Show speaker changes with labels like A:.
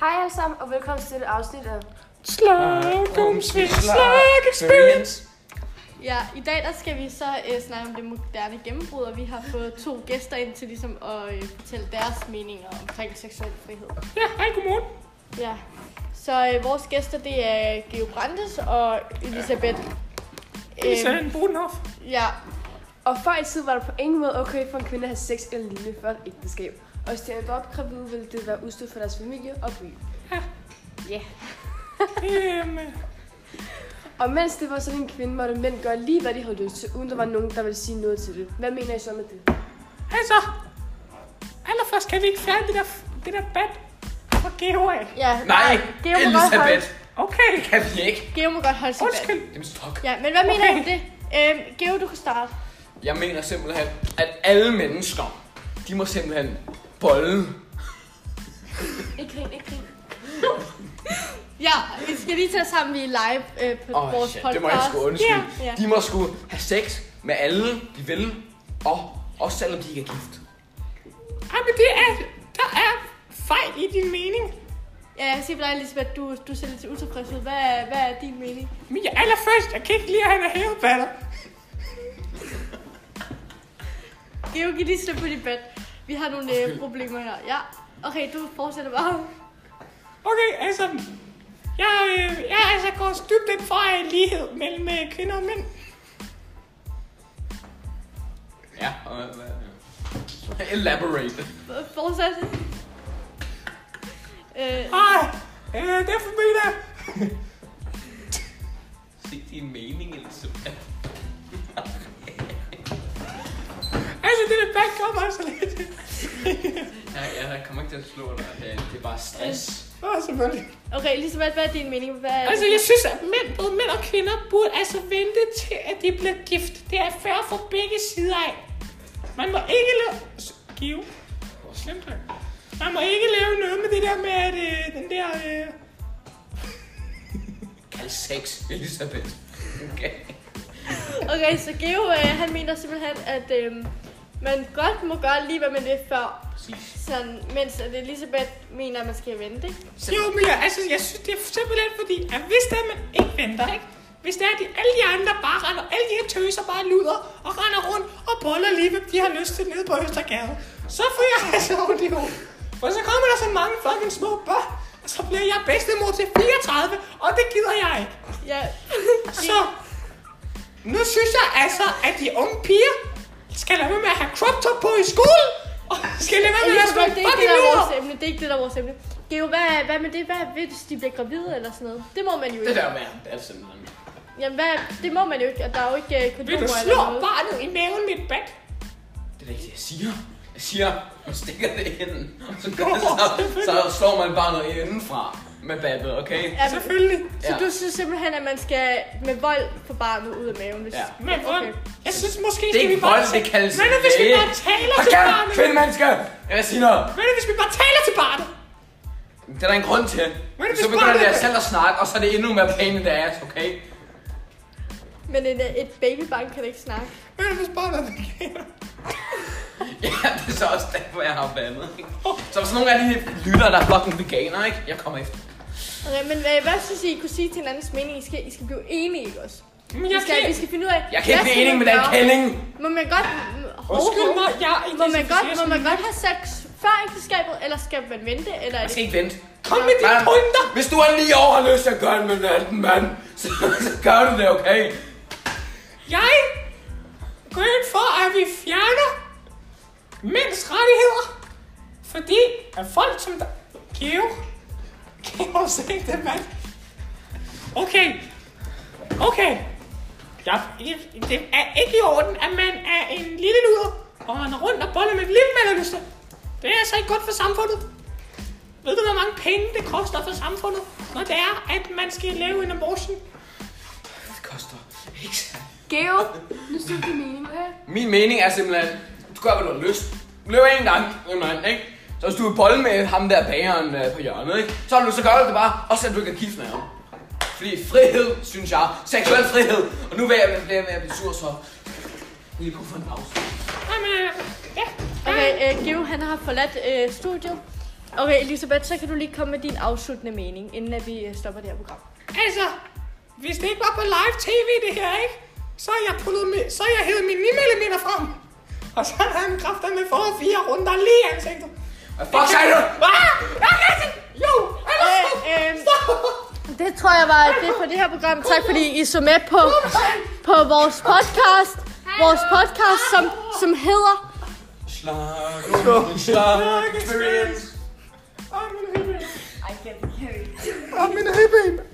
A: Hej alle sammen, og velkommen til et afsnit af...
B: Slagumsvig, slag experience.
C: Ja, i dag der skal vi så øh, snakke om det moderne gennembrud, og vi har fået to gæster ind til ligesom at øh, fortælle deres meninger omkring seksuel frihed.
B: Ja, hej, godmorgen.
C: Ja, så øh, vores gæster det er Geo Brandes og Elisabeth. Øhm,
B: Lisanne Bodenhoff.
C: ja,
A: Og før i tiden var det på ingen måde okay for en kvinde at have sex eller lignende før et ægteskab. Og hvis de var blevet gravide, ville det være udstødt for deres familie og by.
B: Øhm,
A: Og mens det var sådan en kvinde, måtte mænd gøre lige, hvad de havde lyst til, uden der var nogen, der ville sige noget til det. Hvad mener I så med det?
B: altså, allerførst kan vi ikke fjerne det der, det der bad fra Geo af.
C: ja.
D: Nej,
C: Geo må godt holde,
D: Elisabeth.
B: Okay,
D: Det kan vi ikke.
C: Geo må godt holde sig bag.
B: undskyld.
D: Jamen stop.
C: Ja, men hvad mener
B: Okay.
C: du med det? Øhm, Geo, du kan starte.
D: Jeg mener simpelthen, at alle mennesker, de må simpelthen bolle.
A: Ikke grin, ikke grin.
C: Ja, vi skal lige tage sammen, vi er live øh, på
D: Åh, oh,
C: vores
D: shit,
C: podcast.
D: det må jeg sgu undskylde.
C: Ja, ja.
D: De må sgu have sex med alle, de vil. Og også selvom de ikke er gift.
B: Ej, men det er, der er fejl i din mening.
C: Ja, jeg kan se på dig, Elisabeth, du, du ser lidt utilfreds ud. Hvad, er- hvad er din mening?
B: Men jeg allerførst, jeg kan ikke lide, at han er hæveballer.
C: Geo, giv lige slip på dit bed. Vi har nogle øh, problemer her. Ja, okay, du fortsætter bare.
B: Okay, altså, jeg, øh, jeg altså går dybt ind for øh, lighed mellem øh, kvinder og mænd.
D: Ja, og hvad- hvad? Elaborate.
C: F- Fortsæt. Øh,
B: Ej, øh, derfor mener jeg,
D: Se din mening, Elisabeth.
B: altså det der bad gør mig så lidt.
D: Ja, jeg kommer ikke til at slå dig. Det er- Det er bare stress.
B: Åh, selvfølgelig.
C: okay, Elisabeth, hvad er din mening? Hvad er
B: Altså, jeg synes, at mænd, både mænd og kvinder, burde altså vente til, at de bliver gift. Det er fair for begge sider af. Man må ikke lave... S- Give. Hvor slemt er det? Man må ikke lave noget med det der med, at øh, den der... Øh...
D: Kald sex, Elisabeth. Okay.
C: Okay, så Geo, øh, han mener simpelthen, at øh, man godt må gøre lige, hvad man vil før.
D: Præcis.
C: Sådan, mens at Elisabeth mener, at man skal vente. ikke?
B: Jo, men jeg, altså, jeg synes, det er simpelthen fordi, at hvis det er, man ikke venter, ikke? Hvis det er, at de, alle de andre bare render, alle de her tøser bare luder og render rundt og boller lige, hvad de har lyst til nede på Østergade, så får jeg altså ondt i hovedet. For så kommer der så mange fucking små børn, og så bliver jeg bedstemor til 34, og det gider jeg ikke.
C: Ja,
B: Så nu synes jeg altså, at de unge piger skal lade være med at have crop top på i skole, og skal lade være med at være
C: Elisabeth,
B: sådan
C: det er ikke det,
B: fucking
C: der er
B: luder.
C: vores emne. Det er ikke det, der er vores emne. Geo, hvad, hvad med det? Hvad hvis de bliver gravide eller sådan noget? Det må man jo
D: Det
C: ikke.
D: der med, det er simpelthen...
C: Jamen, hvad, det må man jo ikke, og der er jo ikke
B: Vil
C: øh, kondomer
B: du
C: eller
B: slå
C: noget.
B: barnet i maven med et bat?
D: Det er ikke det, jeg siger. Jeg siger, man stikker det ind, og så, gør det, så, så slår man bare noget indenfra med battet, okay?
C: Ja, men-
B: Selvfølgelig.
C: Så du synes simpelthen, at man skal med vold få barnet ud af maven? Hvis...
D: Ja.
B: Men okay. jeg synes måske,
D: Det er
B: skal
D: ikke
B: vi bare...
D: vold, det kaldes
B: Hvad nu, hvis vi
D: læge.
B: bare taler
D: Hold
B: til
D: kæft,
B: barnet?
D: kvinde menneske! Jeg siger noget.
B: Hvad nu, hvis vi bare taler til barnet?
D: Det er der en grund til.
B: hvis
D: Så begynder
B: barnet-
D: det selv at snakke, og så er det endnu mere pain in the ass, okay?
C: Men et, et babybarn kan ikke snakke.
B: Hvad nu, hvis barnet
D: Ja, det er så også derfor, jeg har bandet. ikke? Så hvis nogen af de lytter, der er fucking veganer, ikke? Jeg kommer efter.
C: Okay, men øh, hvad, hvad synes I, I kunne sige til hinandens mening? I skal, I skal blive enige, ikke også?
B: Men
C: Vi
B: jeg
C: skal,
B: kan...
C: vi skal finde ud af...
D: Jeg kan ikke
C: hvad
D: blive
C: skal
D: enig
C: man
D: med den
C: gøre?
D: kælling.
C: Må man godt... Hov,
B: Undskyld
C: hov.
B: mig, jeg...
C: Må man godt, må man godt have sex før ægteskabet, eller skal man vente? Eller
D: Jeg
C: er det...
D: skal ikke vente.
B: Kom med dine
D: Nej,
B: pointer!
D: Hvis du er 9 år og har lyst til at gøre det med en anden mand, så, så gør du det, okay?
B: Jeg går ind for, at vi fjerner mænds rettigheder. Fordi at folk som der... Geo... Geo, se det, mand. Okay. Okay. Jeg, jeg- det er ikke i orden, at man er en lille luder og render rundt og boller med et lille mandelyste. Det er altså ikke godt for samfundet. Ved du, hvor mange penge det koster for samfundet, når det er, at man skal lave en abortion?
D: Det koster ikke særlig
A: Geo, nu synes din mening, okay?
D: Min mening er simpelthen, du gør, hvad du har lyst. Løb en gang, en anden, ikke? Så hvis du vil bolle med ham der bageren øh, på hjørnet, ikke? Så, er du, så gør du det bare, og så du ikke er gift med ham. Fordi frihed, synes jeg, seksuel frihed. Og nu vil jeg blive flere med at blive sur, så vi kan få en pause.
B: Jamen, øh, ja.
C: Okay, øh, Geo, han har forladt øh, studiet. Okay, Elisabeth, så kan du lige komme med din afsluttende mening, inden at vi øh, stopper det her program.
B: Altså, hvis det ikke var på live tv det her, ikke? Så er jeg, pullet med, så er jeg hævet min 9 mm frem. Og så har han kraftedeme fået fire runder lige i ansigtet.
D: Hvad fuck sagde du?
B: Ah! Jeg kan ikke... Jo! Ellers stop!
C: Øh, øh,
B: Stop!
C: det tror jeg var det for det her program. Tak fordi I så med på, på vores podcast. Vores podcast, som, som hedder...
D: Slag, slag, slag, experience.
B: Åh, min ribben! Åh, min ribben!